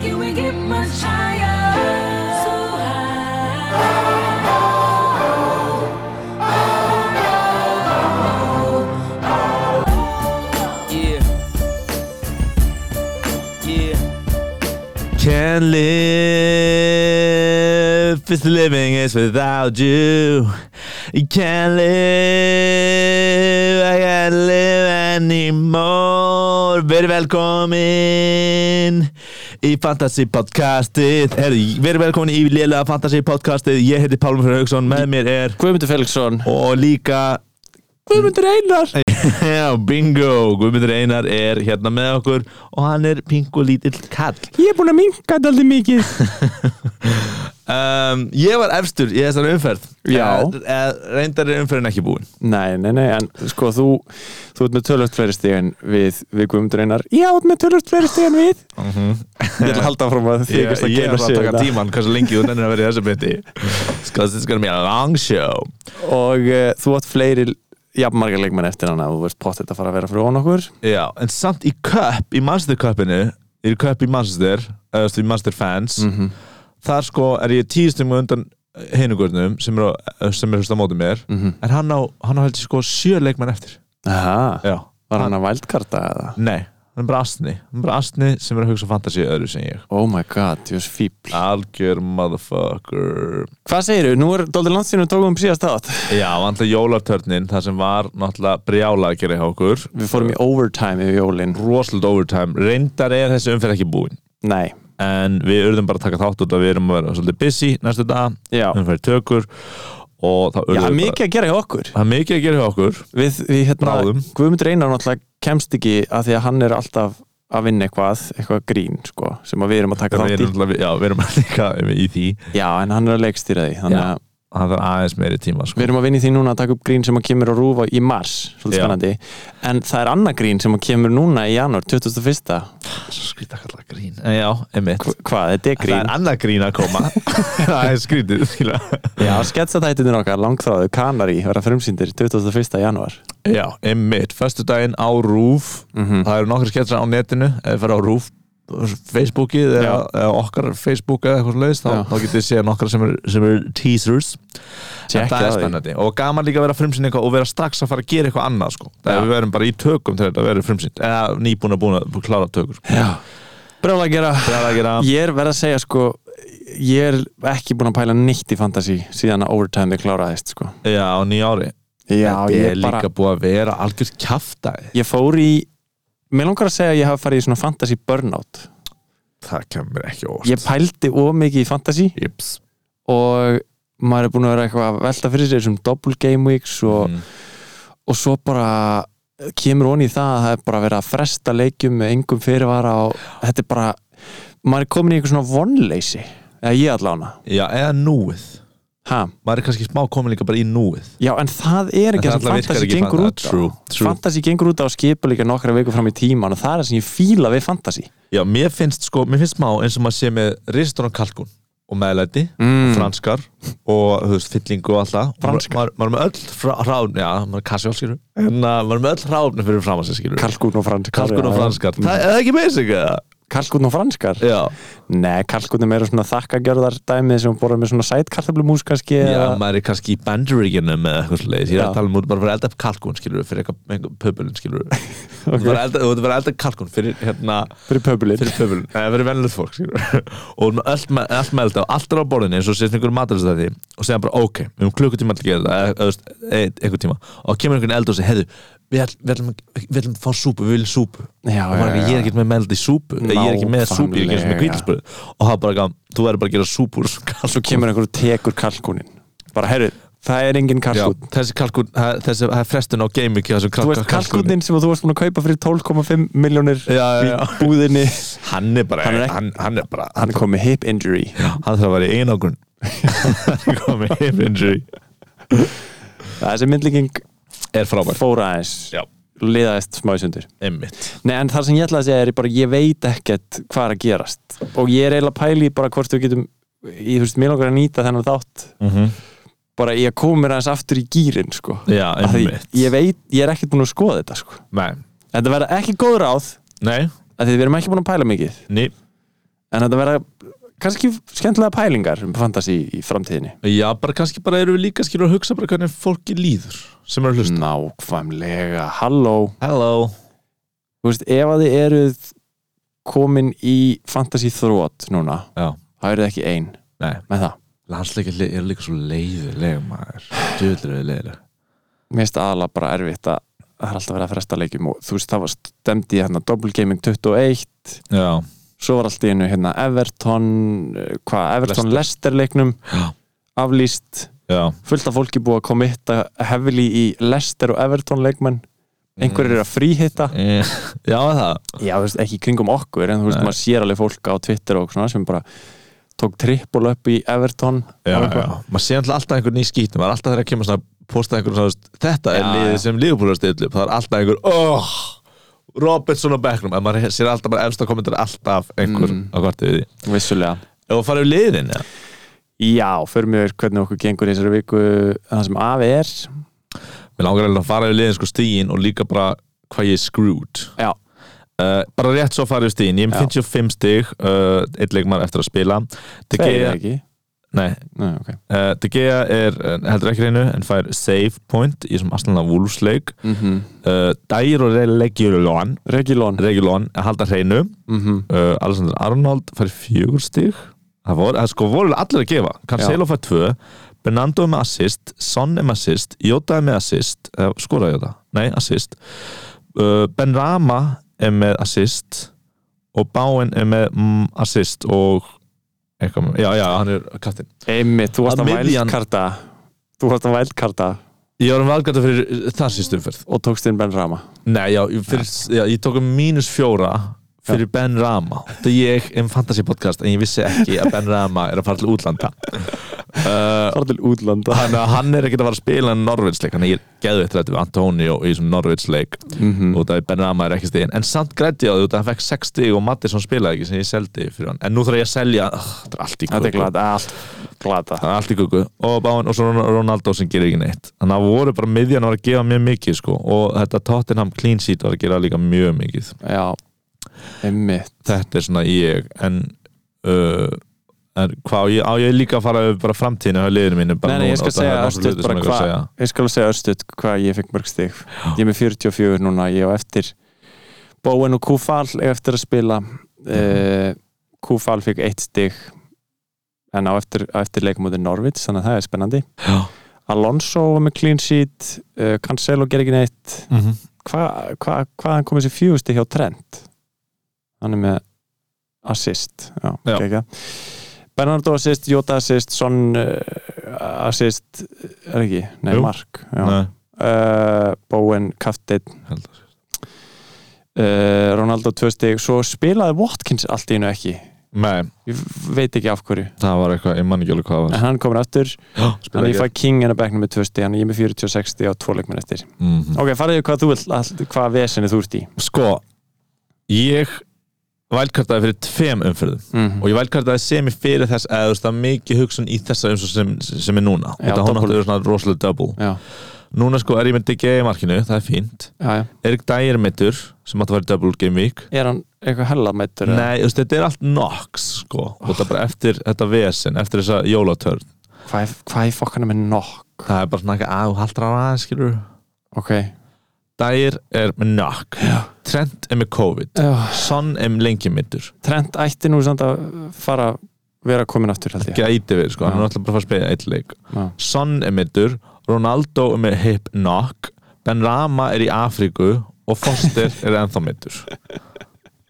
Can we get much higher? So high. Yeah. Yeah. Can live if living is without you. You can't live, I can't live anymore. Verið velkomin í Fantasy podcastið. Herðu, verið velkomin í liðlega Fantasy podcastið. Ég heiti Pálmur Fröður Hauksson, með mér er Guðmundur Felixson og líka Guðmundur Einar Já, bingo, Guðmundur Einar er hérna með okkur og hann er pingu lítill kall Ég er búin að minka þetta aldrei mikið um, Ég var efstur í þessari umferð Já. Eh, eh, Reyndar er umferðin ekki búin Nei, nei, nei, en sko þú Þú ert með tölvöld fleiri stíðan við, við Guðmundur Einar Já, þú ert með tölvöld fleiri stíðan við Ég ætla að halda fram að því Ég, ég er að taka tíman hversu lengi þú nennir að vera í þessu beti Skal þetta skal mér long show Og uh, þú átt fleiri jafnmarga leikmenn eftir hana Þú ert pottet að fara að vera fyrir von okkur Já, en samt í köp, í Manchester Cupinu Í köp í Manchester, eða í Manchester fans Þar sko er ég tíðstum undan hinugurnum sem er, á- sem er fyrst á móti mér En hann á, hann á heldur sko sjö leikmenn eftir Aha, Já, var hann að vældkarta eða? Nei, hann er bara astni Hann er bara astni sem er að hugsa fantasíu öðru sem ég Oh my god, þú erst fíbl Algjör motherfucker Hvað segirðu? Nú er Dóldi Landsinu tókum síðast aðat Já, vantlega jólartörnin Það sem var náttúrulega brjála að gera hjá okkur Við fórum í overtime yfir jólin Rosalega overtime Reyndar er þessi umferð ekki búin Nei, En við urðum bara að taka þátt út að við erum að vera svolítið busy næstu dag já, Umferð tökur Og þá urðum já við mikið að gera hjá okkur bara Það er mikið að gera hjá okkur Við, við hérna, Bráðum. Guðmundur Einar náttúrulega kemst ekki að því að hann er alltaf að vinna eitthvað, eitthvað grín sko, sem að við erum að taka Við þátt í erum, náttúrulega- já, við erum líka í því Já, en hann er að leikstýra því þannig Já. að Það þarf aðeins meiri tíma sko. við erum að vinna í því núna að taka upp grín sem að kemur á rúfa í mars, svolítið Já. spennandi en það er annað grín sem að kemur núna í janúar 2001. Svo skrýta að kalla grín En Já, einmitt Hva- Hvað, þetta er Það grín? er annað grín að koma Það er skrítið skilja. Já, sketsatættinir okkar langþráðu Kanari verða frumsýndir 21. janúar Já, einmitt, föstudaginn á Rúf Mhm. Það eru nokkri sketsar á netinu Ef þið fer á Rúf Facebookið eða, eða okkar Facebook eða eitthvað leist þá, Já. þá getið séð nokkra sem eru sem er teasers En Tjekka það er á því. spennandi og gaman líka að vera frumsýnd eitthvað og vera strax að fara að gera eitthvað annað sko. Já. þegar við verum bara í tökum til þetta að vera frumsýnd eða nýbúin að búin að klára tökur sko. Já, brjóla að gera Það er að gera Ég er verið að segja sko Ég er ekki búin að pæla neitt í fantasy síðan að overtime við kláraðist sko Já, á nýjári Þetta Já, er ég líka bara búið að vera algjörð kjaftaði Ég fór í Mér langar að segja að ég hafi farið í svona fantasy burnout Það kemur ekki óvart Ég pældi of mikið í fantasy Jips og maður er búin að vera eitthvað að velta fyrir sér sem double game weeks og, Mhm. og svo bara kemur honi í það að það er bara verið að fresta leikjum með engum fyrirvara og þetta er bara maður er komin í eitthvað svona vonleysi eða ég allána Já, eða núið ha. Maður er kannski smá komin líka bara í núið Já, en það er En ekki það það sem alltaf virkar fantasy ekki í gengur fantasy. út á True, true. Fantasy gengur út á að skipa líka nokkra viku fram í tíman og það er það sem ég fíla við fantasy Já, mér finnst sko, mér finnst smá eins og maður sé með ristur og kalkun og meðlæti, Mm. franskar og þú veist, fyllingu og alltaf Franskar. maður, maður, maður er með öll frá- hráfni, já, maður er kassjál skilur en uh, maður er með öll hráfni fyrir fram að sér skilur Kalkun og franskar kalkun og Já, franskar, já. það er það ekki basic eða? Kalkun og franskar? Já, Nei, kalkun er meira svona þakkagjörðar dæmið sem borða með svona sætkartöflumús kannski já, eða- maður er kannski í banduriginum eða eitthvað sliðis, ég er Já. að tala um út bara fyrir elda upp kalkun skilur, fyrir eitthvað einhver pöbulin skilur þú ert bara að elda- þú ert bara að elda upp kalkun fyrir hérna fyrir pöbulinn fyrir pöfulun, það er verið venlust fólk skilur. og hún með allt, með- allt með þetta og allt er á borðinni eins og sést einhverjum matalistæði og segja bara ok, við höfum klukkutíma til að gera þetta eða, eða, veist, ein- einhver tíma og kemur einhvern eld og segir, heyrðu, við ætlum- við ætlum við ætlum að fá súpu, við viljum súpu Já, og bara, já, já. ég er ekkert með meld í súpu Ná, ég er ekki með súpu, ég er ekki með Nákvæmlega. kvítilspöðu og það er bara, gaman, þú verður bara að gera súpu úr þessum kalkún. Svo kemur einhver og tekur kalkunin Bara, herru, það er engin Já, kalkun þessi kalkun, það þessi- það er frestun á gaming hjá þessum Þú kalkun veist kalkunin sem þú varst búin að kaupa fyrir 12,5 miljónir Já, já, í já. búðinni hann er bara, Hann er ekki- hann, hann er bara Hann kom með hip injury hann þarf að vera í einangrun hann kom með hip injury Þessi myndlíking er frábær fóra aðeins Já. liðaðist smá í sundur Einmitt Nei, en það sem ég ætla að segja er bara ég veit ekkert hvað er að gerast og ég er eiginlega pæli bara hvort við getum ég þú veist, mér langar að nýta þennan þátt bara ég kom mér aðeins aftur í gýrin sko. Já, Af því einmitt ég veit, ég er ekkert búin að skoða þetta sko. Nei, þetta verða ekki góð ráð nei, að því við erum ekki búin að pæla mikið ný en þetta verða kannski skemmtilega pælingar um fantasy í framtíðinni Já, bara kannski bara erum við líka skilur að hugsa bara hvernig fólki líður sem eru að hlusta nákvæmlega, halló Hello Þú veist, ef að þið eruð komin í fantasy þrótt núna Já. þá eru þið ekki ein Nei. með það Landsleikir eru líka svo leiðilega maður Djöðlega leiðilega mér finnst aðalega bara erfitt að að það er alltaf verið að fresta leikjum og þú veist, það var stemdi hérna Double Gaming 21 Já, svo var allt í einu hérna Everton eh, hvað, Everton Leicester leiknum Já. aflýst já fullt af fólki búið að komitta hefili í Leicester og Everton leikmenn einhverjir eru að fríhitta Eh, Mm. Já, er það já, þú veist, ekki í kringum okkur en þú veist, Nei. maður sér alveg fólk á Twitter og svona sem bara tók trippul upp í Everton Já, Og já eitthvað. Maður sé alltaf alltaf einhver ný skýt Maður er alltaf þegar að kemur svona Posta einhver svona þú veist, Þetta er Já, liðið já. sem Liverpool er stillu Það er alltaf einhver oh, Robertson á bekknum En maður sér alltaf bara efst að komentar Alltaf einhver Mm. á kvartu við því vissulega Ef þú farið við liðin, já já, förum við hvernig okkur gengur í þessari viku það sem af er Mér langar eiginlega að fara við liðin sko stíin Og líka bara hvað ég er screwed já, Uh, bara rétt svo farið við stíðin, ég er með 55 stíg uh, einn leikmann eftir að spila De það er Gea, ekki nei, Nei, okay. uh, De Gea er uh, heldur ekki reynu en fær save point í sem aðslanlega vúlfsleik mm -hmm. uh, Dæir og Regulón Regilon Regulón að halda hreinu uh, mm -hmm. Alexander Arnold fær fjögur stíg það voru, það sko voru allir að gefa Cancelo fær tvö, Bernardo með assist Son er með assist, Jota er með assist uh, skoraði Jota, nei assist uh, Ben Rama er með assist og Báin er með mm, assist og eitthvað, með- já já, hann er kaptinn einmitt, þú varst Að að miðjan- vældkarta þú varst að vældkarta Ég var um valgata fyrir þar síst umferð og tókst inn Ben Rama Nei, já, ég- fyrir, já, ég tók um mínus fjóra fyrir Ben Rama Þetta ég um fantasy podcast en ég vissi ekki að Ben Rama er að fara til útlanda uh, fara til útlanda Þannig að hann er ekkert að fara að spila en Norvinsleik Þannig að ég er geðveitt rætt við Antonio í þessum Norvinsleik mm og það er Ben Rama er ekki stíðin En samt grætti á því út að hann fekk 6 stíð og Mattisson spilaði ekki sem ég seldi fyrir hann En nú þarf ég að selja, uh, þetta er allt í þetta er köku. glata, allt glata Það er allt í kukku og báinn og svo Ron- Ronaldo sem gerir ekki neitt þannig að voru bara miðjan var að gefa mjög mikið sko. og þetta Tottenham clean sheet var að gera líka mjög mikið já, einmitt þetta er svona ég en, uh, en hvað á ég, á ég líka að fara yfir bara framtíðinu á liðinu mínu bara Nei, nei, ég núna, skal og það er nokkra segja hluti sem ég örstuð bara vil hvað segja. ég skal segja örstuð hvað ég fekk mörg stig ég er með 44 núna, ég á eftir Bowen og Kúfal eiga eftir að spila uh, Kúfal fekk eitt stig en á eftir, á eftir leikumóti Norvits, þannig að það er spennandi Já. Alonso var með clean sheet uh, Cancelo ger ekki neitt hvað hva, hva hann komið sér fjústi hjá Trent hann er með assist já, Já. já. Bernardo assist, Jota assist Son uh, assist er ekki, nei Jú. Mark uh, Nei, Bowen, Kaftin held að sé. uh, Ronaldo tvö stig, svo spilaði Watkins allt í einu ekki nei, ég veit ekki af hverju það var eitthvað, ég man ekki alveg hvað það en var hann komur aftur, hann Spilaði ég ekki. fæ King en að bekna með tvö stig, hann er ég með 46 stig á tvo leikmenn eftir Mhm. ok, fariðu hvað þú vill, hvað vesinni þú ert í Sko, ég vælkartaði fyrir tveim umferðum Mhm. og ég vælkartaði semi fyrir þess eða þú veist það er mikið hugsun í þessa eins og sem, sem er núna Já, þetta hún double. átti að vera svona rosalega double já, núna sko er ég með DG í markinu, það er fínt já, já Erik Dyer er meittur sem átti að vera double game week er hann eitthvað hellamættur Nei, þú veist, þetta er allt nox sko, og þetta er bara eftir þetta vesen eftir þessa jólatörn, hvað er- hvað er fokkana með nokk það er bara svona ekki að haldra hann aðeins, skilur ok Dyer er með knock Trent er með COVID Já, Son er lengi meittur Trent ætti nú samt að fara vera komin aftur held ég ekki að íti við, sko, Já. hann er alltaf bara að fara að spila eitt leik Já. Son er meittur, Ronaldo er með hip knock, Ben Rama er í Afríku og Foster er ennþá meittur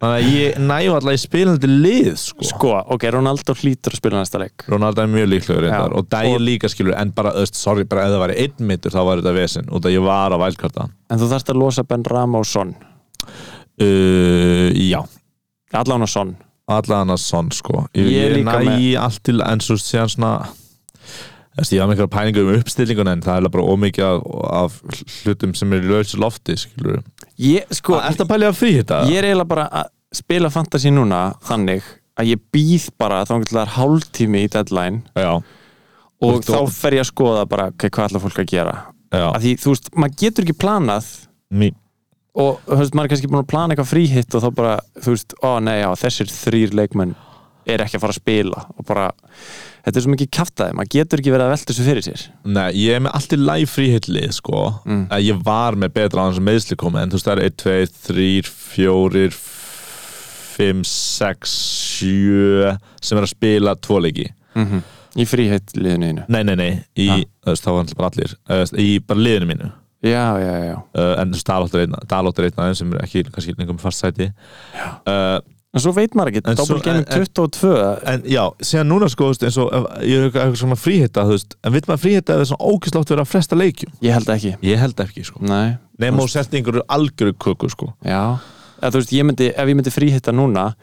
þannig að ég næju alltaf í spilandi lið sko. sko, ok, Ronaldo hlýtur að spila næsta leik Ronaldo er mjög líklegur reyndar Já. og Dæir líka skilur en bara, öst, sorry, bara ef það væri einn meittur þá var þetta vesinn út að ég var að vælkarta en þú þarft að losa Ben Rama og Son uh, Já, allan og Son allan að son sko Ég, Ég er ég, líka næ í allt til en svo séðan svona Þessi, ég hafa mikla pælingu um uppstillingun en það er bara ómikið af, af hlutum sem er í lausu lofti skilur ég, sko, Er þetta pælið að frí þetta? ég er eiginlega bara að spila fantasy núna þannig að ég býð bara þá það er hálftími í deadline Já, og Þú- þá fer ég að skoða bara okay, hvað ætla fólk að gera já að því, þú veist, maður getur ekki planað Ný, og þú veist, maður er kannski búin að plana eitthvað fríhitt og þá bara, þú veist, ó nei, já, þessir þrýr leikmenn er ekki að fara að spila og bara, þetta er svo mikið kjaftaði maður getur ekki verið að velta þessu fyrir sér Nei, ég er með allt í læg fríhillið sko Mm. að ég var með betra aðeins meðsli komið en þú veist það er 1, 2, 3, 4 5, 6 7 sem er að spila tvo leiki mm -hmm. í fríheit liðinu þínu. Nei, nei, nei, í, Ha. þú veist, þá var hann bara allir uh, í bara liðinu mínu uh, já, já, já, en þú veist, Dalótt er einn- Dalótt er einn aðeins sem er ekki kannski lengum með fast sæti uh, en svo veit maður ekki En svo- Double Gaming en- en- 22 en já, síðan núna sko þú veist, eins og ef- ég er eitthvað- eitthvað svona fríhitta þú veist, en vil maður fríhitta ef það er svona ógæslátt verið að fresta leikjum? ég held ekki, Ég held ekki sko nei Nefnum og setja einhverju algjöru köku sko Já, eða, þú veist, ég myndi, ef ég myndi fríhitta núna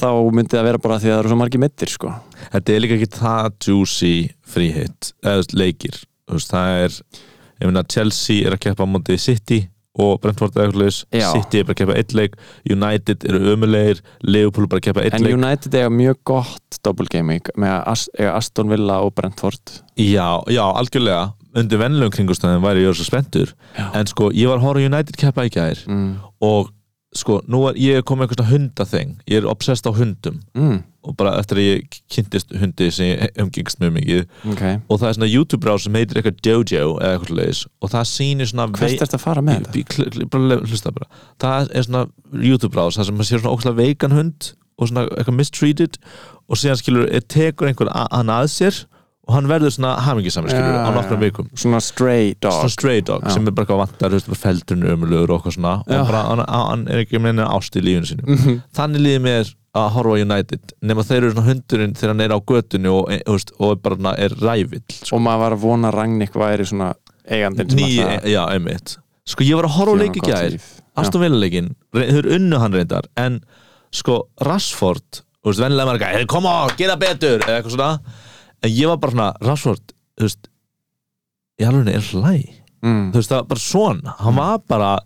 þá myndi það vera bara því að það eru svo margir mittir sko. Þetta er líka ekki það juicy fríhitt eða þú veist, leikir Þú veist, það er, ég meina Chelsea er að keppa á móti City og Brentford eða eitthvað leis Já. City er bara að keppa einn leik United eru ömulegir, Liverpool er bara að keppa einn en leik United eiga mjög gott double gaming með að As- eiga Aston Villa og Brentford Já, já, algjörlega undir vennilegum kringustæðin væri ég svo spenntur Já. en sko, ég var að horfa á United keppa í gær mm. og sko, nú er ég er komið með einhversta hundaþeng, ég er obsessed á hundum Mm. og bara eftir að ég kynntist hundi sem ég umgengst mjög mikið ok, og það er svona YouTube rás sem heitir eitthvað Jojo eða eitthvað leis og það sýnir svona hvert er þetta að fara með þetta? Ég- kl- kl- bara le- hlusta bara það er svona YouTube rás það sem maður sér svona ókslega veikan hund og svona eitthvað mistreated og síðan skilur er tekur einhver a- hann að sér og hann verður svona hamingisamur skilur Já, á nokkrum já. vikum Svona stray dog svona stray dog Já. sem er bara eitthvað vantar hlusta bara feldurinn ömulegur og eitthvað svona Já. Mhm. og bara hann, hann er ekki með neina ást í lífinu sínum þannig líður mér að horfa á United nema þeir eru svona hundurinn þegar hann er á götunni og, e, veist, og er bara svona- er rævill sko. og maður var að vona að Ragnik væri svona eigandinn sem Ný, ætlaði að já, einmitt Sko, ég var að horfa á gefa leik í honum gott gær líf. Já. Aston Villa leikin, þau eru unnu hann reyndar en sko, Rashford þú veist, venlega marga, hey, koma, gera betur eða eitthvað svona, en ég var bara svona Rashford, þú veist í alveg er hlæ, Mm. þú veist, það var bara svona hann var bara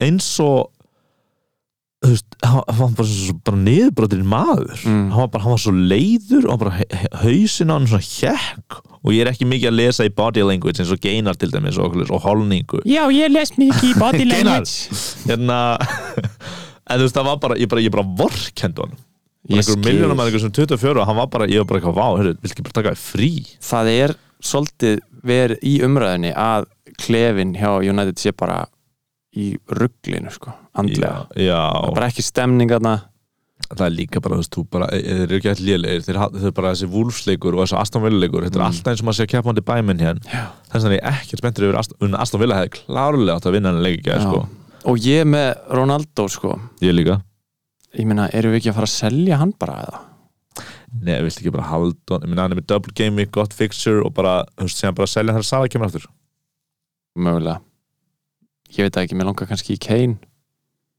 eins og þú veist, hann hann var bara, svo, bara niðurbrotin maður Mm. hann, var bara, hann var svo leiður og bara hausin á hann svona hjekk og ég er ekki mikið að lesa í body language eins og geinar til dæmis og, okkur leis- og holningu já, ég les mikið í body language. hérna en þú veist, það var bara, ég bara, ég bara vorkend honum bara Ég einhver skil. miljónum að einhver sem 24 og hann var bara, ég var bara eitthvað, vá, heyrðu, vil ekki bara taka þér frí það er svolítið verið í umræðinni að klefin hjá United sé bara í rugglinu sko, andlega já, það er já bara ekki stemningarna það er líka bara, þú veist, þú bara e- e- þeir eru ekki allir lélegir, þeir, ha- þeir eru bara þessi vúlfsleikur og þessi Aston Villa-leikur, þetta er Mm. alltaf eins og maður sé að keppa hann til bæminn hér Já. þess að ég er ekkert spenntur yfir Aston, en Aston Villa hefði klárlega átt að vinna hann leik ekki, sko, Já. og ég með Ronaldo sko ég líka ég meina, erum við ekki að fara að selja hann bara eða? Nei, viltu ekki bara halda hann, ég minna hann er með double gaming, gott fixture og bara, þú veist, sem bara selja þar að Sala kemur aftur mögulega ég veit það ekki, mér langar kannski í Kane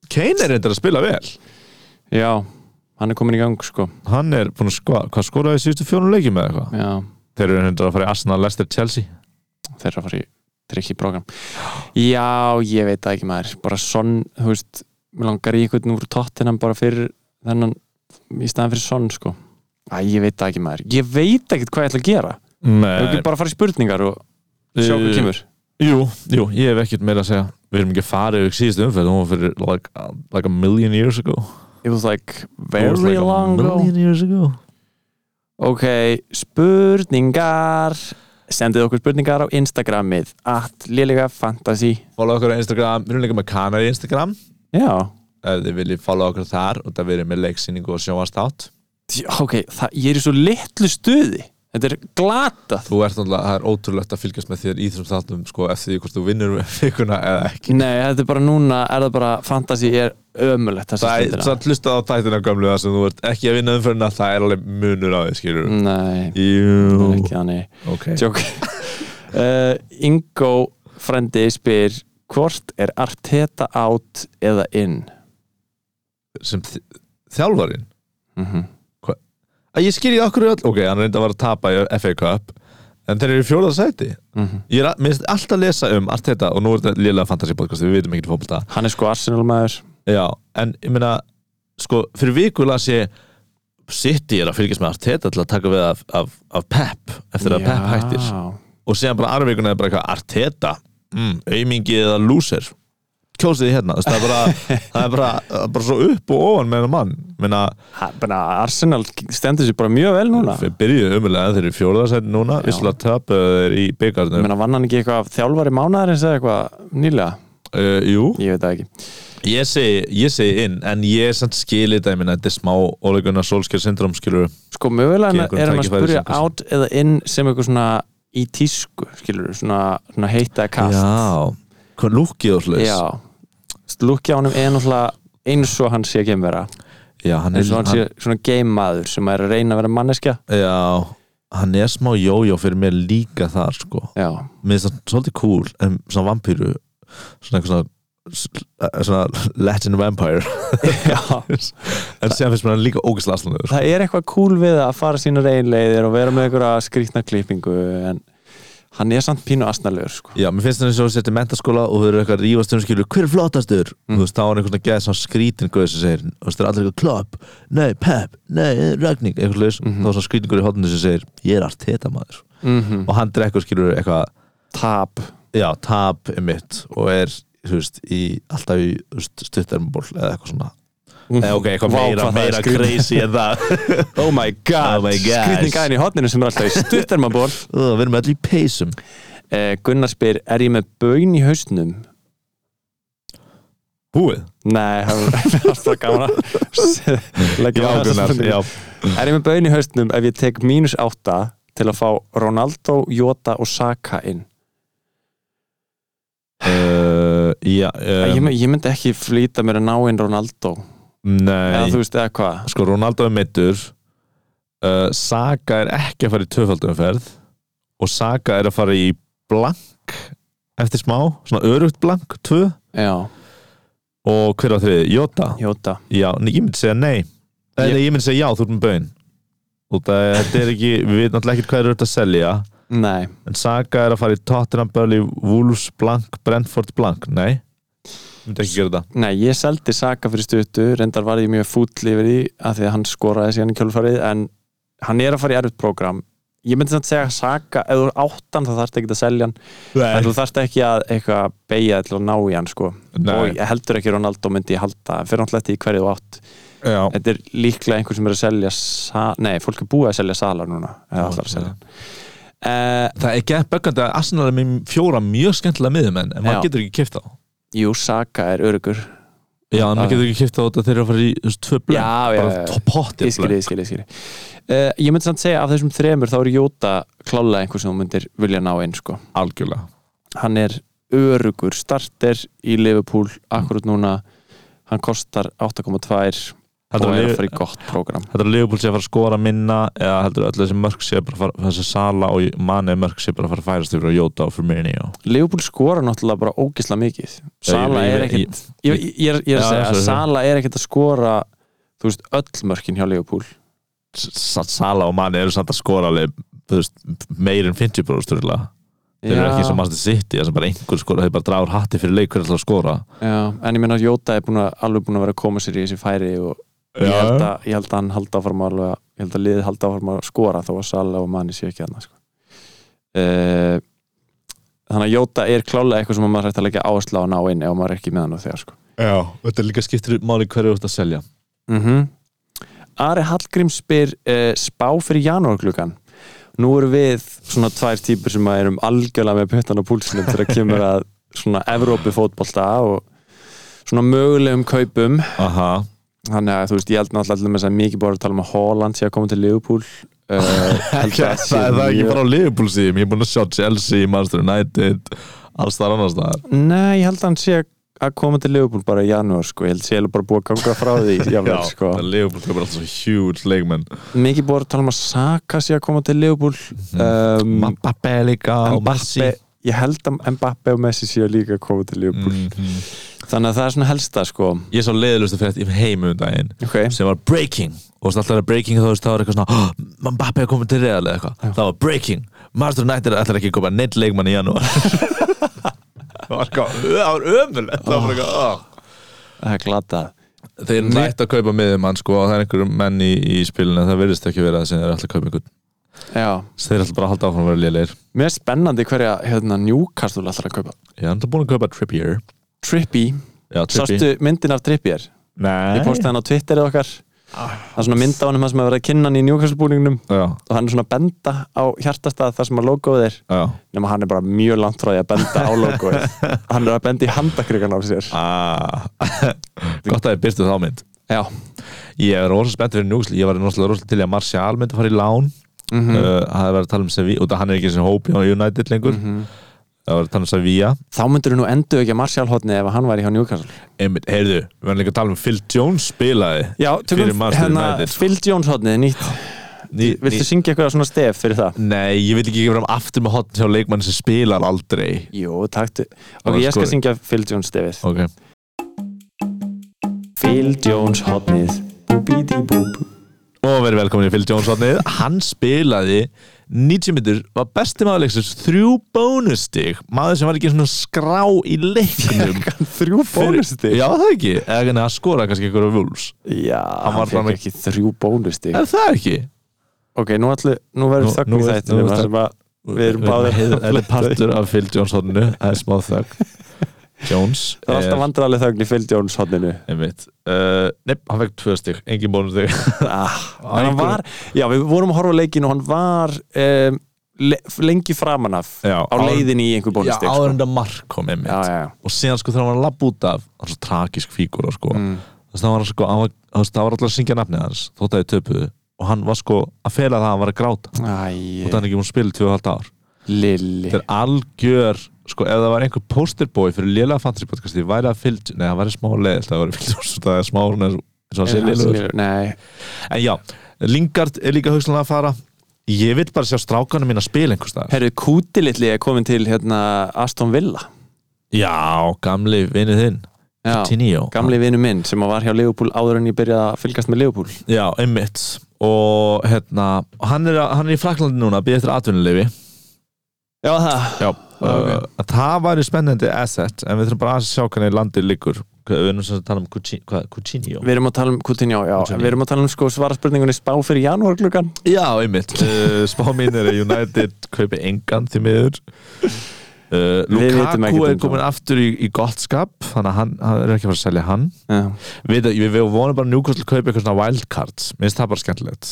Kane er reyndar að spila vel já, hann er komin í gang sko hann er búin að sko, hvað skoraði í síðustu fjónum leikjum eða eitthvað já, þeir eru hendur að fara í Arsenal, Leicester, Chelsea þeirra að fara í trikki program já, ég veit það ekki maður bara sonn, þú veist mér langar í einhvern úr tóttinam bara fyrir þennan, í staðan fyrir sonn sko Æ, ég veit það ekki maður, ég veit ekkert hvað ég ætla að gera Ef við Nei, ekki bara að fara í spurningar og sjá hvað Eh, kemur jú, jú, ég hef ekkert meira að segja við erum ekki að fara yfir síðustu umferð hún var fyrir like, uh, like a million years ago It was like It very was like a long ago million years ago Ok, spurningar Sendið okkur spurningar á Instagramið at lélega fantasy follow okkur á Instagram, við erum líka með kanar í Instagram Já, ef þið viljið follow okkur þar og það verið með leiksýningu og sjóastátt Dj- ok, það, ég er í svo litlu stuði Þetta er glatað þú ert náttúrulega, það er ótrúlegt að fylgjast með þér í þessum þáttum sko eftir því hvort þú vinnur með fikuna eða ekki Nei, þetta er bara núna, er það bara fantasy er ömulegt þessa Það er, stundina samt hlusta á þættina gömlu það sem þú ert ekki að vinna umferðina, það er alveg munur á því, skilur Nei, Mm. það er Jú, ekki þannig ok Tjók uh, Ingo frendi spyr Hvort er Arteta out eða in? sem þi- þjálfarinn Mm að ég skilji okkur öll, ok, hann reyndi að vara að tapa í FA Cup, en þeir eru í fjóraða sæti mhm. ég er að, mér finnst alltaf að lesa um allt þetta og nú er þetta lélega fantasy podcast við vitum ekki fókbalta, Hann er sko Arsenal maður já, en ég meina sko, fyrir viku las ég City er að fylgjast með Arteta til að taka við af, af, af Pep eftir að Pep hættir og síðan bara aðra vikuna er bara eitthvað Arteta, mm, aumingi eða loser kjósið þið hérna Þú veist, það er bara, það er bara, það er bara svo upp og ofan með hennar mann Minna, Ha, bara Arsenal stendur sér bara mjög vel núna við byrjuðum umulega þeir eru fjóruðarsætt núna Já. visslega tapuðu þeir í Ég byggarnum uh, meina, vann hann ekki eitthvað af þjálfari mánaðarins eða eitthvað nýlega? Eh, Jú, Ég veit það ekki. ég segi, ég segi inn en ég er samt skilið þetta, ég minna þetta er smá ólegunar sólskjör syndrom skilur Sko, mögulega Ekki einhverjum er hann að tækifæri spyrja sem kannski- out eða in sem eitthvað svona í tísku, skilur svona, svona heita kast. Já, hvað lúkið og slags Já. Lúkja á honum er náttúrulega eins og hann sé geimvera. Já, hann er, Eins og hann sé svona geimaður sem er að reyna að vera manneskja. já, hann er smá jójó fyrir mér líka þar sko Já. mér finnst það svolítið cool en svona vampíru svona eitthvað svona s- svona Latin vampire Já. en síðan finnst mér hann líka ógislega aðslandur Það er eitthvað cool við að fara sínar einleiðir og vera með einhverja skrýtna klippingu en hann er samt pínu astnalegur, sko. Já, mér finnst það eins og sér til mentaskóla og þau eru eitthvað að rífast um skilur, hver er flottastur? Mm. Þú veist, þá er einhvern veginn að geða svona skrítingur sem segir, þú veist, það er allir eitthvað klopp, nei, pep, nei, ragning, eitthvað leys, Mhm. þá er svona skrítingur í hóttinu sem segir, ég er allt þetta maður. Mm Og hann drekkur skilur eitthvað, Tap. já, tap er mitt og er, þú veist, í, alltaf í þú veist, stuttarmból eða eitthvað svona. Eh, ok, eitthvað Vá, meira, hvað það er meira skrýtið. crazy en það. Oh my god, Oh my gosh. skrýtning gæðin í hotninu sem er alltaf í stuttarmaból Ú, Við erum allir í peysum. eh, Gunnar spyr, er ég með bögn í hausnum? Búið? Nei, það var alltaf gaman að leggja á Já, þessa Gunnar, spurningu. já. Er ég með bögn í hausnum ef ég tek mínus átta til að fá Ronaldo, Jota og Saka inn? Uh, já, Eh, ég, um, my- ég myndi ekki flýta mér að ná inn Ronaldo eða nei. þú veist, eða hvað sko Ronaldo er meittur uh, Saga er ekki að fara í tvöfaldumferð og Saga er að fara í blank eftir smá, svona örugt blank tvö Já, og hver á þriði, Jota Jota já, nei, ég myndi segja nei ég, Ég- nei, ég myndi segja já, þú ert með bauðin út að eh, þetta er ekki, við veitum alltaf ekkert hvað er auðvitað að selja Nei, en Saga er að fara í Tottenham Burnley, Wolves blank, Brentford blank, nei ég myndi ekki gera þetta nei, ég seldi Saka fyrir stuttu reyndar var ég mjög fúll yfir því að því að hann skoraði síðan í kjölfarið en hann er að fara í erfitt prógram ég myndi samt segja Saka, ef þú er áttan þá þarfst ekki að selja hann en þú þarfst ekki að eitthvað beigja til að ná í hann sko. og nei, ég heldur ekki Ronaldo myndi ég halda en fyrir náttúrulega eftir í hverju þú átt já þetta er líklega einhver sem er að selja sa... nei, fólk er búið að selja Sala núna eða allar að selja uh, Það er gett böggandi að Arsenal er með fjóra mjög skemmtilega miðumenn en maður Já. getur ekki kipta á Jú, Saka er örugur Já, en maður Já. getur ekki kipta á þetta þegar að fara í þú veist, tvö blönd Já, já, já, já. Bara pottið ég skilji, ég skilji, ég skilji uh, ég myndi samt segja af þessum þremur þá er Jóta klálega einhver sem þú myndir vilja ná inn sko. Algjörlega hann er örugur starter í Liverpool akkurat núna hann kostar 8,2 Heldur og er að að fara í gott prógram Leopold sé að fara að skora minna eða heldur að öll þessi mörg sé bara að fara þessi sala og manni mörg sé bara að fara að færast yfir á Jóta og Firmino Liverpool skora náttúrulega bara ógisla mikið Sala ég- er ég- ekkit ég, ég, ég, er- ég er Já, að segja að sorry, sorry. Sala er ekkit að skora þú veist, öll mörkin hjá Liverpool S- s- Sala og manni eru samt að skora alveg þú veist, meir en 50 bróður styrla Þeir eru ekki eins og mannstu sitt í þess að bara einhver skora þeir bara dragur hatti fyrir leik hver ætlar að skora já, en ég meina að Jóta er búin að, alveg búin að vera að koma sér í þessi færi og ég held, að, ég held að hann halda áfram að alveg, ég held að liðið halda áfram að skora þó að Sala og Mani séu ekki hann sko. uh, þannig að Jóta er klálega eitthvað sem maður hægt að leggja áherslu á að ná inn ef maður er ekki með hann og þegar sko. Já, þetta líka skiptir máli hverju þú ert að selja mm Mhm. Ari Hallgrím spyr uh, spá fyrir janúarklukkan nú eru við svona tvær típur sem að erum algjörlega með puttan á púlsinum þegar kemur að svona Evrópi fótbolta og svona mögulegum kaupum Aha, þannig að þú veist ég held náttúrulega allir með þess að mikið bóra að tala um að Holland sé að koma til Liverpool uh, held að sé það er það ekki mjög- bara á Liverpool síðum ég er búin að sjá Chelsea, Manchester United alls þar annars þar Nei, ég held að hann sé að koma til Liverpool bara í janúar sko, ég held sé að bara búið að ganga frá því jafnvel, sko. það er Liverpool það er alltaf svo huge leikmenn mikið bóra að tala um að Saka sé að koma til Liverpool Mhm. um, Mbappe líka og Messi Mbappe, ég held að Mbappe og Messi séu líka að koma til Liverpool Mhm. þannig að það er svona helsta sko ég sá leiðilustu fyrir þetta í heimu um daginn okay. sem var breaking og svona alltaf er breaking þá veist það var eitthvað svona "Oh, Mbappe er komið til Real eða eitthvað það var breaking Manchester United ætlar ekki að koma neitt leikmann í janúar það var eitthvað það var ömulegt það var eitthvað "Ah." það er glatað þeir Nei. nætt að kaupa miðumann sko og það er einhverjum menn í, í spilinu það verðist ekki verið að sem þeir ætla að kaupa einhvern Já. Svo þeir ætla bara að halda áfram að vera lélegir mér er spennandi hverja hérna, Newcastle ætlar að kaupa ég er enda búin að kaupa Trippier Trippy Já, Trippi. Sástu myndin af Trippier? Nei Ah. Ég postaði hann á Twitterið okkar Það er svona mynd á hann um það sem að vera að kynna hann í Newcastle-búningnum Já, og hann er svona að benda á hjartastað þar sem að logoið er já nema hann er bara mjög langt frá því að benda á logoið Hann er að benda í handakrikan á sér ah. Gott að þið byrstu þá mynd Já, Ég er rosa spenntur fyrir njúksli Ég var náttúrulega rosa til í að Martial myndi fara í lán mm mm. uh, Það er verið að tala um Sevilla og það hann er ekki sem hóp hjá United lengur Það var að tala um Sevilla þá myndur nú endur ekki að Martial hotni ef hann væri hjá Newcastle Einmitt, heyrðu, við varum líka að tala um Phil Jones spilaði Já, Fyrir tökum Manchester hérna United, sko. Phil Jones hotnið nýtt ný, Viltu syngja eitthvað svona stef fyrir það? Nei, ég vil ekki gefa fram aftur með hotn hjá leikmann sem spilar aldrei Jú, taktu Ok, var ég skal skorið. syngja Phil Jones stefið Ok Phil Jones hotnið Búbídi búb Og verið velkomin í Phil Jones hotnið Hann spilaði 90 minnur var besti maður leiksins þrjú bónustig maður sem var ekki svona skrá í leiknum Þrjú bónustig Já, það ekki eða ekki að skora kannski einhverju vúls Já, hann var var fram- fram ekki þrjú bónustig Er það ekki? Ok, nú, allu, nú verður Nú- þögn nú er- í nú þættinu er þar þögn. sem að Við erum báðir Eða partur af Phil Jones hotninu Það er smá þögg Jones Það er alltaf er- vandrarlega þögn í Phil Jones hotninu Einmitt uh, Nei, hann fekk tvö stig, engin bónustig ah, En hann var Já, við vorum að horfa á leikin og hann var um, le, lengi framan af Já, á áður- leiðinni í einhver Já, bónustig áður en sko. þetta mark kom einmitt já, já, já. og síðan sko þegar hann var að labba út af hann er svo tragisk fígúra sko Mm. þess að hann var sko, hann var, þú veist, það var alltaf að syngja nafnið hans þótt að þið töpuðu og hann var sko að fela það að hann var að gráta yeah. Æ, og það er ekki múin að spila í 2,5 ár Lilli þetta er algjör, sko, ef það var einhver posterboy fyrir lélega fantasy podcast því væri að fylg, nei það væri smá leðilt það væri fylg, það er smá svona eins og- eins og hann sé Er hann lélegur lélegur? Nei, en já, Lingard er líka hugsanlega að fara ég vil bara sjá strákanum mín að spila einhvers staðar herru, kútilitli er komin til hérna, Aston Villa já, gamli vinið þinn Já, Coutinho. gamli vinnu minn sem var hjá Leopold áður en ég byrjaði að fylgast með Leopold Já, einmitt og hérna, hann er, hann er í Fraklandi núna býð eftir atvinnuleifi Já, það Já, okay. uh, það væri spennandi asset en við þurfum bara að sjá hvernig landið liggur við erum sem að tala um Cucci- hvað, Coutinho Við erum að tala um Coutinho, já, Coutinho. við erum að tala um sko svara spurningunni spá fyrir janúarklukkan Já, einmitt uh, spá mín er að United kaupi engan því miður uh, Við vitum Lukaku ekkert er um komin aftur í, í gott skap þannig að hann, hann er ekki að fara að selja hann Já, við, við, við vonum bara njúkvæmst að kaupa eitthvað svona wildcards, minnst það bara skemmtilegt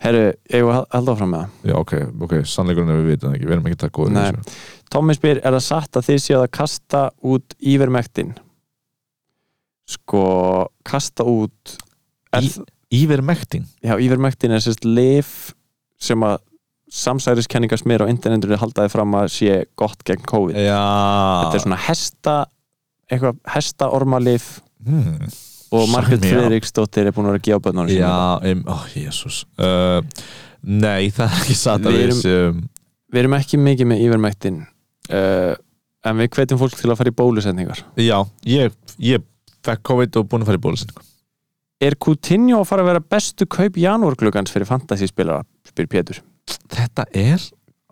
herru, ég var alltaf fram með það Já, ok, ok, sannleikurinn er við vitum það ekki, við erum ekki það góður í Nei. þessu. Tommy spyr, er það satt að þið séu að kasta út ívermektin? Sko, kasta út er, Í- Íver Mekting Já, ívermektin er sérst lif sem að samsæriskenningar smir á internetunni haldaði fram að sé gott gegn COVID Já þetta er svona hesta eitthvað hestaormalif hmm. og Sign Margrét me up. Friðriksdóttir er búin að vera að gefa bönnunum sínum. Já, um, ó, Jésús uh, Nei, það er ekki satt að um- Við við erum- séum við erum ekki mikið með yfirmættin uh, en við hvetjum fólk til að fara í bólusendingar Já, ég, ég fekk COVID og búin að fara í sko. bólusinn er Coutinho að fara að vera bestu kaup janúargluggans fyrir fantasyspilara spyr Pétur Þetta er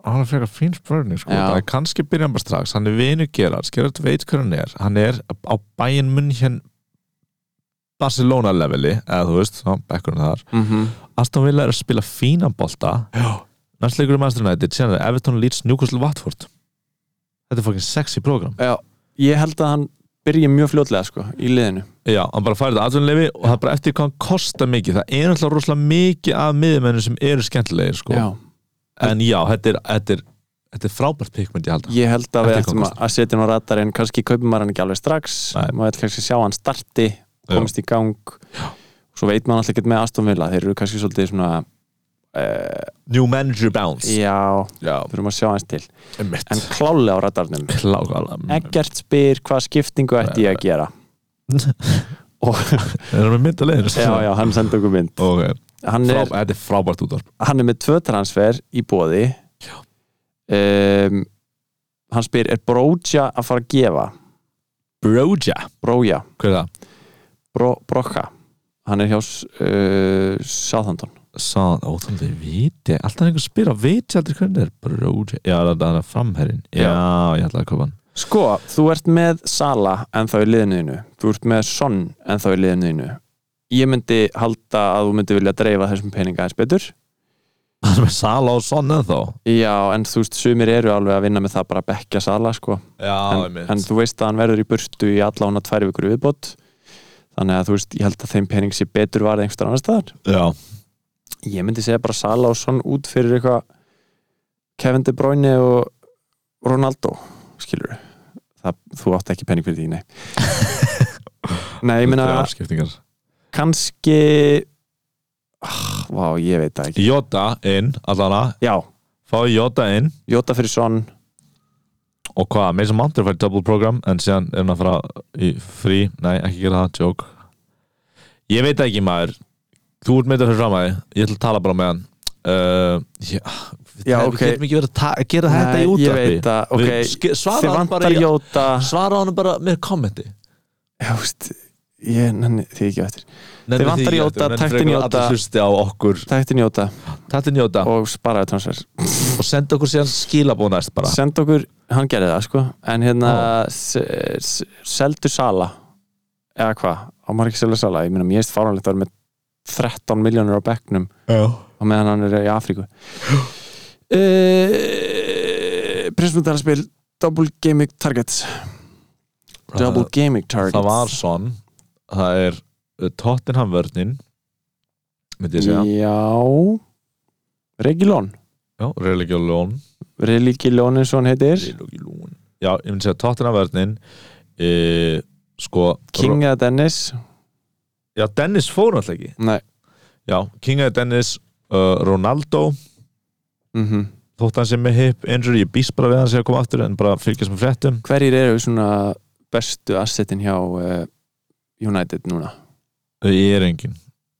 alveg frekar fín spurning sko. Já. Það er kannski byrjan bara strax Hann er vinu Gerard, Gerard veit hver hann er Hann er á bæin munn hér Barcelona leveli eða þú veist, þá bekkurinn þar mm -hmm. Aston Villa er að spila fínan bolta Næstleikur í Manchester United síðan er Everton Leeds Newcastle Watford Þetta er fokkin sexy program Já, ég held að hann byrja mjög fljótlega sko, í liðinu Já, hann bara færi þetta atvinnuleifi og það er bara eftir hvað hann kostar mikið það er náttúrulega rosalega mikið af miðmennum sem eru skemmtilegir sko. Já. en já, þetta er, þetta er, þetta er frábært pikmynd ég halda ég held að við Þetta er ættum góð að að setja hann á ratar en kannski kaupum maður hann ekki alveg strax Nei. maður ætla kannski að sjá hann starti komist í gang svo veit maður alltaf ekki með Aston Villa þeir eru kannski svolítið svona uh, New manager bounce já, Já, þurfum að sjá hans til mitt en klálega á radarnum Klákala Eggert spyr hvað skiptingu ætti ég að gera og Erum við mynd að leiðin? já, já, hann sendi okkur mynd okay. hann Frá, er, Þetta er frábært útvarp hann er með tvö transfer í bóði um, hann spyr er Brója að fara að gefa Broja, Brója, hver er það? Bró, Broja hann er hjá uh, Southampton Sá, ótrúlega viti Alltaf einhver spyr að viti aldrei hvernig er Broja Já, það er framherrin Já, ég ætlaði að köpa hann sko, þú ert með Sala en þá í liðinuðinu þú ert með Son en þá í liðinuðinu ég myndi halda að þú myndi vilja dreifa þessum peninga eins betur Það er Sala og Son ennþá Já, en þú veist, sumir eru alveg að vinna með það bara að bekka sala, sko Já, en, en þú veist að hann verður í burtu í allána tvær vikur í viðbót þannig að þú veist, ég held að þeim pening sé betur varð einhverstað annar staðar Já, ég myndi segja bara Sala og Son út fyrir eitthvað Kevin De Bruyne og Ronaldo skilur það, þú átt ekki pening fyrir því, nei nei, ég meina þetta er afskiptingar. kannski ah, vá, ég veit það ekki Jota inn, allana já, Fá Jota inn Jota fyrir Son Og hvað, Mason Mount er að fara í double program En síðan er hann að fara í frí Nei, ekki gera það, joke Ég veit ekki maður Þú ert meitur fyrir fram að því Ég ætla að tala bara með hann uh, Já, Já, við ok. getum ekki verið að ta- gera þetta Nei, í ég útvarpi veit það, Við ok sk- þið Svara hann bara vantar í Jota Svara hann bara með kommenti já, veist, ég nenni því ekki á eftir Nenni vantar því ekki, Jota, nenni taktin frekar að Jota. Allir hlusti á okkur tættin Jota Taktin Jota og sparaði transfer og senda okkur síðan skilabóð næst bara senda okkur, hann gerði það sko en hérna s- s- seldu sala eða hvað, á maður ekki selja sala ég meina, mér erst fáránlegt að vera með 13 miljónur á bekknum Já. og meðan hann er í Afríku uh, Prinsmyndararspil Double Gaming Targets Double Gaming Targets það var svon það er uh, Tottenham vörnin myndi ég segja Já Regilón já, Religilón Religilón eins og hann heitir Religilón já, ég myndi segja Tottenham vörnin e, sko King eða Dennis já, Dennis fór alltaf ekki Nei já, King eða Dennis uh, Ronaldo mm þótt hann sem með hip injury ég býst bara við að hann sé að koma aftur en bara fylgjast með fréttum Hverjir eru svona bestu assetin hjá uh, United núna? ég er engin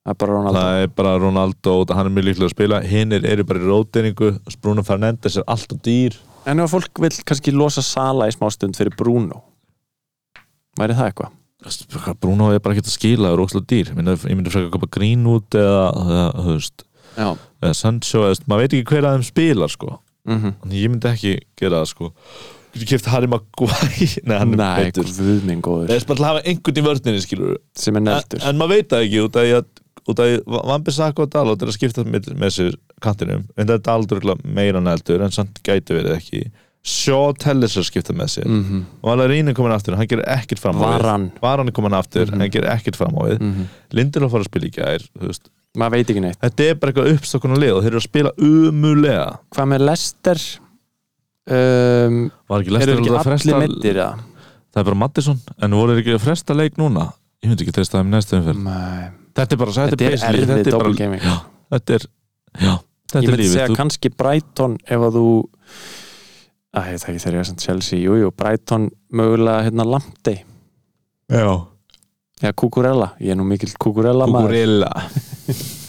Það er bara Ronaldo það er bara Ronaldo og hann er mjög líklega að spila hinn eru bara í róteiningu Bruno Fernandes er alltaf dýr En ef fólk vill kannski losa Sala í smástund fyrir Bruno Væri það eitthvað? Veist, hvað, Bruno er bara ekkert að skila það er óslega dýr, ég myndi, ég myndi frekar að koma grín út eða, eða, þú veist, Já eða Sancho, eða, þú veist, maður veit ekki hver að þeim spilar sko, mm Þannig ég myndi ekki gera það sko, getur kæft Harry Maguire nei, hann er Nei, betur guð minn góður eða bara að hafa einhvern í vörninni skilur sem er en, neldur en maður veit það ekki út af því að út af því Vambi Saka og Dalot er að skipta með, með sér kantinum en það er Dalot örugglega meira nældur en samt gæti verið ekki Sjó Tellis er að skipta með sér mm -hmm. og alveg Rínin komin aftur, hann gerir ekkert fram á við Varan Varan er komin aftur, Mhm. hann gerir ekkert fram á við mm -hmm. Lindelof var að spila í gær þú veist. Maður veit ekki neitt þetta er bara eitthvað uppstokkuna lið og þeir eru að spila umulega Hvað með Lester? Um, var ekki eru lestur ekki að fresta allir mittir eða? það er bara Mattisson, en voru þeir ekki að fresta leik núna ég myndi ekki treysta þeim í næstu umferð Nei Mm. þetta er bara, þetta, Þetta er basically- erfið þetta er double bara, gaming já, þetta er, já, þetta er Ég myndi lífið segja Þú- kannski Brighton ef að þú Æ, ég veit ekki þegar ég er samt Chelsea Jújú, jú, Brighton mögulega hérna Lamptey já, Já, Kukurella, ég er nú mikill Kukurella maður Kukurilla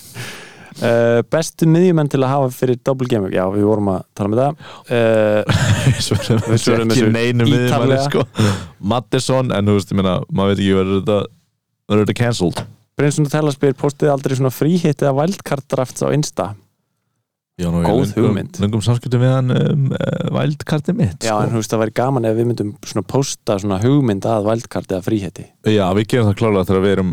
uh, Bestu miðjumenn til að hafa fyrir double gaming Já, við vorum að tala með það uh, við svörum Við svörum þessu þessu ekki neinu við manni ítarlega. sko Mattisson, en þú veist, ég meina maður veit ekki, verður þetta verður þetta cancelled Brinsun og Tellarspyr postið aldrei svona fríhitt eða wildcard drafts á Insta Já, nú, ég Góð löngum- hugmynd. löngum samskiptum við hann um uh, vældkarti mitt Já, sko. en þú veist, það væri gaman ef við myndum svona posta svona hugmynd að vældkart eða fríhetti. Já, við gerum það klálega þegar við erum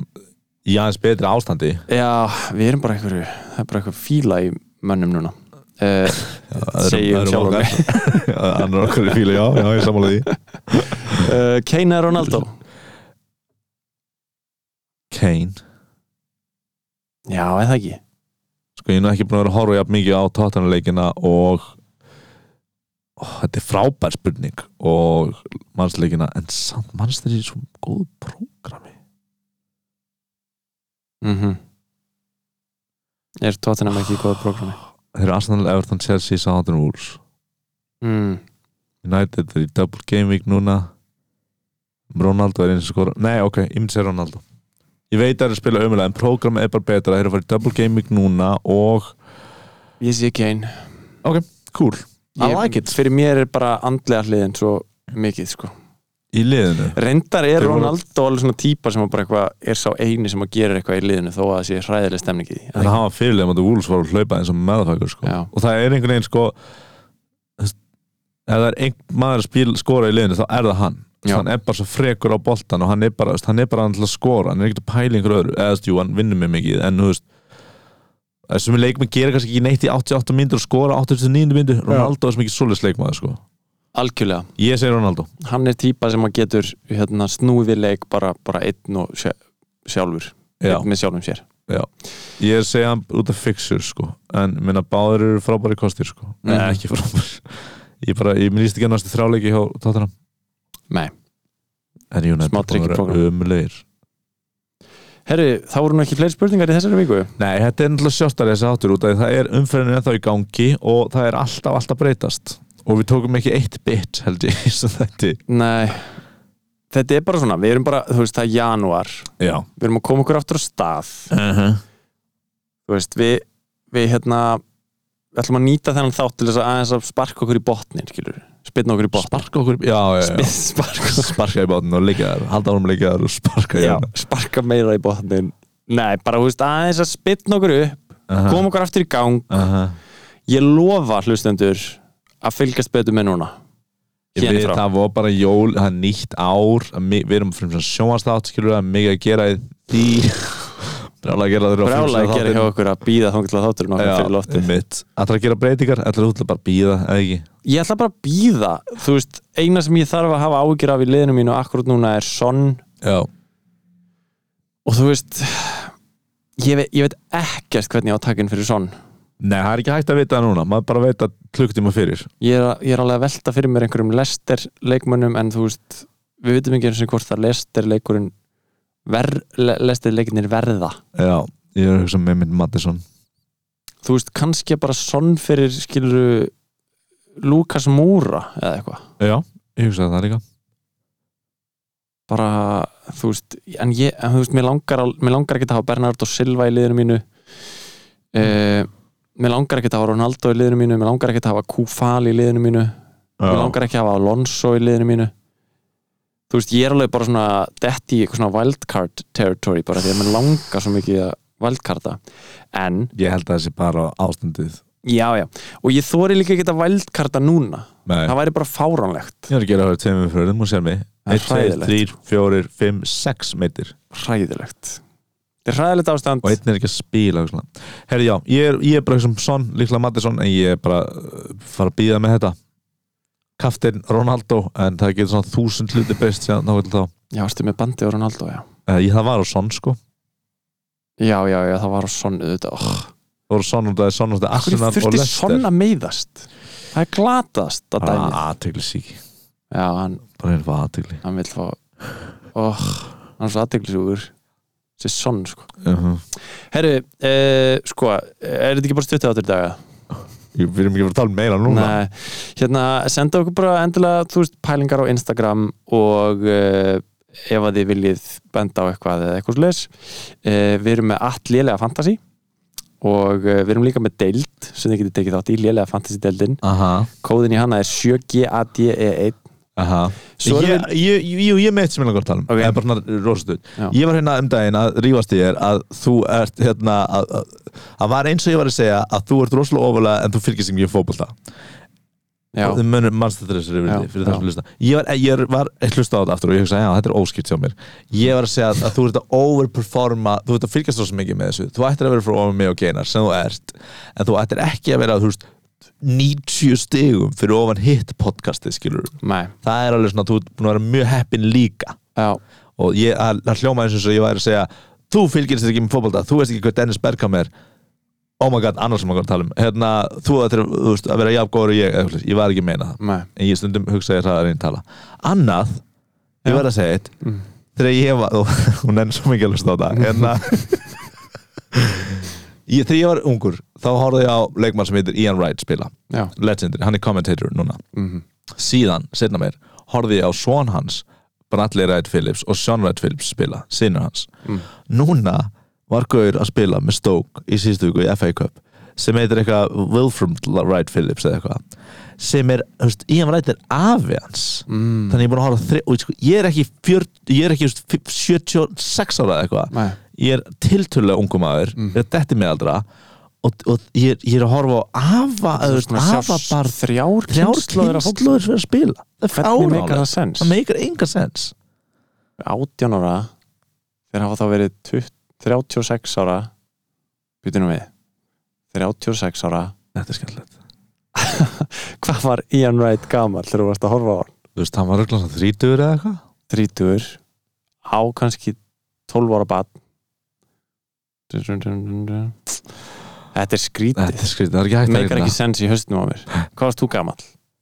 í aðeins betra ástandi Já, við erum bara einhverju, það er bara einhverju fíla í mönnum núna. Uh, Segi ég um sjálfan mig. Annar okkar í fílu, já, já, ég sammála því uh, Kane eða Ronaldo? Kane, Já, eða ekki. sko ég er nú ekki búin að vera að horfa jafn mikið á tóttanleikina og Ó, þetta er frábær spurning og mannsleikina en samt manns þeir í svo góðu prógrami Mm Er Tottenham ekki í góða prógrami? Þeir eru Arsenal, Everton, Chelsea, Southampton, Wolves Mm. United er í double game week núna Ronaldo er eins og skora Nei, ok, ég myndi segja Ronaldo Ég veit að það er að spila ömulega en prógramma er bara betra Það er að fara í double game week núna og Ég sé Kane. cool I like it. Fyrir mér er bara andlega hliðin svo mikið, sko. í liðinu Reyndar er Þeir voru- Ronaldo alveg svona típa sem að bara eitthvað, er sá eini sem að gera eitthvað í liðinu þó að það sé hræðileg stemning í því. En það var fyrirlega að Wolves var að hlaupa eins og meðfækur sko. Já. og það er einhvern veginn sko þú veist, ef það er einhvern maður að spil, skora í liðinu þá er það hann Þú veist, Já. hann er bara svo frekur á boltan og hann er bara, þú veist, hann er bara hann til að skora, hann er ekkert að pæla í einhverju öðru eða þú veist, jú, hann vinnur mig mikið en þú veist sem leikmenn gera kannski ekki neitt í 88 myndur og skora 89 myndur Ronaldo er sem ekki svoleiðs leikmaður sko algjörlega ég segir Ronaldo hann er típa sem að getur hérna, snúið við leik bara, bara einn og sjö, sjálfur já, einn með sjálfum sér ég segja hann út af fixur sko en minna báður eru frábæri kostir sko nei, Mhm. ekki frábæri ég bara, ég minnist ekki að næstu þráleiki hjá Tottenham Nei. en United Smá tricky program. umleir herri, þá voru nú ekki fleiri spurningar í þessari viku nei, þetta er náttúrulega sjórtari þessi áttur út af því það er umferðinu ennþá í gangi og það er alltaf, alltaf breytast og við tókum ekki eitt bit held ég sem þetta nei, þetta er bara svona við erum bara, þú veist, það er januar já við erum að koma okkur aftur á stað uh -huh. þú veist, við, við hérna við ætlum að nýta þennan þátt til þess að aðeins að sparka okkur í botnin, skilur spilna okkur í botnin sparka okkur já, já, já. Spil- sparka, sparka í bátinn og leggja þær halda árum leggja þær og sparka í já, hana. sparka meira í botnin nei, bara, þú veist, aðeins að spilna okkur upp Aha, koma okkur aftur í gang aha. ég lofa hlustendur að fylgjast betur með núna Ég Hérna veit, frá. það var bara jól, það er nýtt ár að mi- við erum fyrir sjónvastátt skilur það er mikið að gera í því brjála að gera þér brála að gera hjá okkur að býða þá getur þátturinn okkar fyrir Já, loftið mitt Ætlar að gera breytingar, ætlar þú til að bara býða eða ekki ég ætla bara að býða, þú veist eina sem ég þarf að hafa ágjur af í liðinu mínu akkurat núna er sonn Já, og þú veist ég veit, ég veit ekkert hvernig ég á takin fyrir sonn nei, það er ekki hægt að vita það núna maður bara veit að klukktíma fyrir ég er, að- ég er alveg að velta fyrir mér einhverjum lester leikmönnum en þú veist við vitum ekki eins og hvort það lester leikurinn ver, lester leikinnir verða Já, ég er að hugsa með minn Mattisson þú veist, kannski bara sonn fyrir skiluru Lukas Múra eða eitthvað Já, ég hugsa það líka bara, þú veist en, ég, en þú veist, mér langar, al- mér langar ekki að hafa Bernardo Silva í liðinu mínu eh, mér langar ekki að hafa Ronaldo í liðinu mínu, mér langar ekki að hafa Kúfal í liðinu mínu, mér Já, langar ekki að hafa Alonso í liðinu mínu þú veist, ég er alveg bara svona dett í eitthvað svona wildcard territory bara því að mér langar svo mikið að wildcarda en, ég held að það sé bara ástandið já, já og ég þori líka ekki að wildcarda núna Nei. það væri bara fáránlegt Ég er að gera það tveimum fyrir þeim og sér mig Það 1, er 2, hræðilegt. 3, 4, 5, 6 meitir hræðilegt þetta er hræðilegt ástand og einn er ekki að spila og svona. Herri já, ég er, ég er bara sem son, líklega Mattisson en ég er bara uh, fara að býða með þetta Kaftin Ronaldo en það getur svona þúsund hluti breyst síðan þá þá já, ertu með bandi og Ronaldo, já Uh, Ég það var á son sko já, já, já, það var á sonn auðvitað oh. Það voru son og það er son og það er Akkur Arsenal og þurfti Leicester Ah. sonn að meiðast það er glatast að Bara dæmi aðtegli sík já, hann, Bara einn var aðtegli hann vil fá oh, hann er svo aðteglisúgur þessi sonn, sko uh -huh. Herru, uh, sko, er þetta ekki bara stuttið áttur í daga? Við erum ekki að fara að tala um meira núna Nei, hérna, senda okkur bara endilega, þú veist, pælingar á Instagram og uh, ef að þið viljið benda á eitthvað eða eitthvað slags uh, Við erum með allt lélega fantasy og uh, við erum líka með deild sem þið getið tekið þátt í, lélega fantasy deildin Aha, Kóðin í hana er E 7GADE1 aha Svo ég, erum ég, ég, ég, ég meitt sem ég langar að tala um Ok. Það er bara svona rosastuð Já. Ég var hérna um daginn að rífast í þér að þú ert hérna að, að, að var eins og ég var að segja að þú ert rosalega ofalega en þú fylgist ekki mjög fótbolta við já, Þið munum mannstu þessari Já, fyrir, fyrir já. það sem hlusta Ég var, ég var ég hlusta á þetta aftur og ég hugsa já þetta er óskipt hjá mér Ég var að segja að, að þú ert að overperforma þú ert að fylgjast rosalega mikið með þessu þú ættir að vera frá ofan mig og geinar sem þú ert en þú ættir ekki að vera þú veist 90 stigum fyrir ofan hitt podcastið skilur nei, það er alveg svona þú ert búin að vera mjög heppin líka já, og ég, það það hljóma eins og svo ég væri að segja þú fylgirist ekki með fótbolta, þú veist ekki hvað Dennis Bergkamp er oh my god, annars sem maður að tala um hérna, þú ættir að, þú veist, að vera jafngóður og ég, eða eitthvað, ég var ekki að meina það nei en ég stundum hugsa ég það að reyna að tala annað, Já. ég var að segja eitt Mm. þegar ég var, og, hún enn svo mikið að hlusta á það hérna ég, þegar ég var ungur þá horfði ég á leikmann sem heitir Ian Wright spila Já, legendary, hann er commentator núna mhm, síðan, setna mér, horfði ég á svon hans Bradley Wright Phillips og Sean Wright Phillips spila, sinna hans Mm. núna var Gaur að spila með Stoke í síðustu viku í FA Cup sem heitir eitthvað Wilfram Wright Phillips eða eitthvað sem er, þú veist, Ian Wright er afi hans mm, þannig ég er búin að horfa á þri, og sko, ég er ekki, fjör, ég er ekki þú veist, 76 ára eða eitthvað nei, ég er tiltölulega ungu maður Mm. ég er detti með aldra og, og ég, er, ég er að horfa á afa, þú veist, afa bara þrjár þrjár kynslóðir af fólki kynnslóður fyrir að spila það er Hvernig meikar fáránlega það sens? það meikar enga sens 18 ára þeir hafa þá verið 20, 36 ára býtum við 36 ára Þetta er skemmtilegt Hvað var Ian Wright gamal þegar þú varst að horfa á hann? Þú veist, hann var röglega svona þrítugur eða eitthvað 30 á kannski 12 ára bat Þetta er skrítið Þetta er skrítið, það er ekki hægt að meikar reyna. ekki sens í höstnum á mér Hvað varst þú gamal?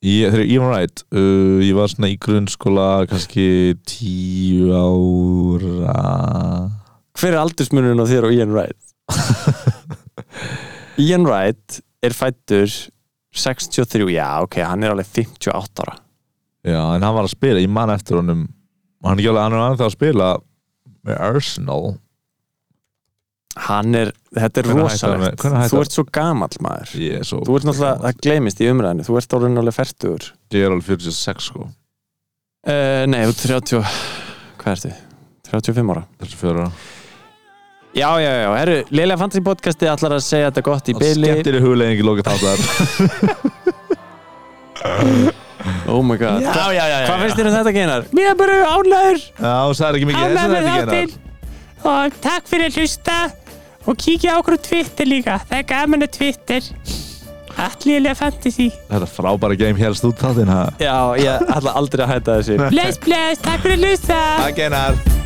Ég, þegar ég var right uh, ég var svona í grunnskóla kannski tíu ára Hver er aldursmunurinn á þér og Ian Wright? Ian Wright er fættur 63, já ok, hann er alveg 58 ára já, en hann var að spila, ég man eftir honum hann er ekki alveg, hann er annað að spila með Arsenal Hann er, þetta Hvenær hætti er hann með- rosalegt hvenær hætti Þú hann? ert svo gamal maður ég er svo Þú ert náttúrulega, það gleymist í umræðinu Þú ert orðin alveg færtur ég er alveg 46 sko, Uh, nei, þú ert 30 Hvað ertu? 35 ára 34 ára Já, já, já, herru, Lilia Fantasy podcasti ætlar að segja þetta gott í byli skemmtir í huglegin ekki lóka tátar Oh my god já, já, já, já Hvað finnst þér um þetta genar? Mér er bara ánlaður já, þú sagði ekki mikið, Ánægður þessi með þetta ekki þáttinn og takk fyrir að hlusta og kíkja á okkur á Twitter líka það er gaman að Twitter allilega fantasy þetta frábæra game helst út þáttinn ha Já, ég ætla aldrei að hætta þessu bless bless, takk fyrir að hlusta Takk einar